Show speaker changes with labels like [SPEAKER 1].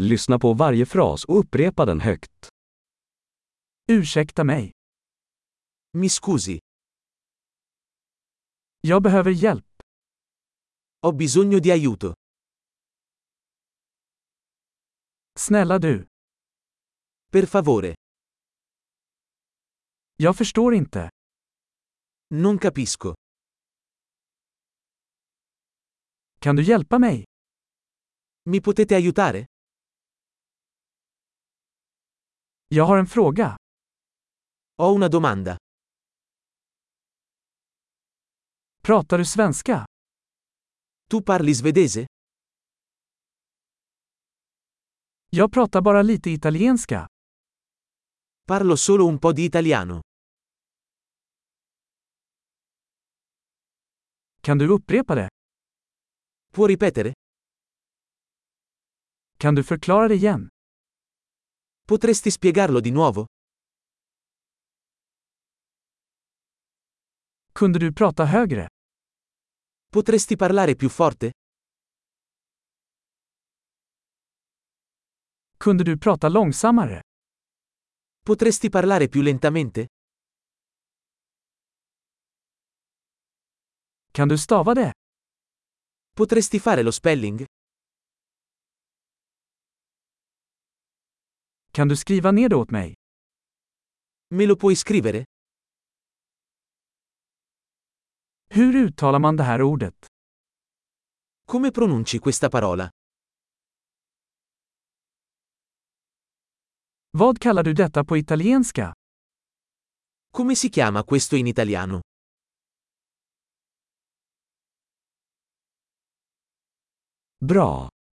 [SPEAKER 1] Lyssna på varje fras och upprepa den högt.
[SPEAKER 2] Ursäkta mig.
[SPEAKER 3] Mi scusi,
[SPEAKER 2] Jag behöver hjälp.
[SPEAKER 3] ho bisogno di aiuto.
[SPEAKER 2] Snälla du.
[SPEAKER 3] Per favore,
[SPEAKER 2] Jag förstår inte.
[SPEAKER 3] non capisco.
[SPEAKER 2] Kan du hjälpa mig?
[SPEAKER 3] Mi potete aiutare?
[SPEAKER 2] Jag har en fråga.
[SPEAKER 3] Ho una domanda.
[SPEAKER 2] Pratar du svenska?
[SPEAKER 3] Tu parli svedese?
[SPEAKER 2] Jag pratar bara lite italienska.
[SPEAKER 3] Parlo solo un po' di italiano.
[SPEAKER 2] Kan du upprepa det?
[SPEAKER 3] Può ripetere?
[SPEAKER 2] Kan du förklara det igen?
[SPEAKER 3] Potresti spiegarlo di nuovo?
[SPEAKER 2] Kunde du prata högre?
[SPEAKER 3] Potresti parlare più forte?
[SPEAKER 2] Kunde du prata långsammare?
[SPEAKER 3] Potresti parlare più lentamente?
[SPEAKER 2] Kan du stava det?
[SPEAKER 3] Potresti fare lo spelling?
[SPEAKER 2] Kan du skriva ner det åt mig?
[SPEAKER 3] Me lo puoi scrivere?
[SPEAKER 2] Hur uttalar man det här ordet?
[SPEAKER 3] Come pronunci questa parola?
[SPEAKER 2] Vad kallar du detta på italienska?
[SPEAKER 3] Come si chiama questo in italiano?
[SPEAKER 1] Bra!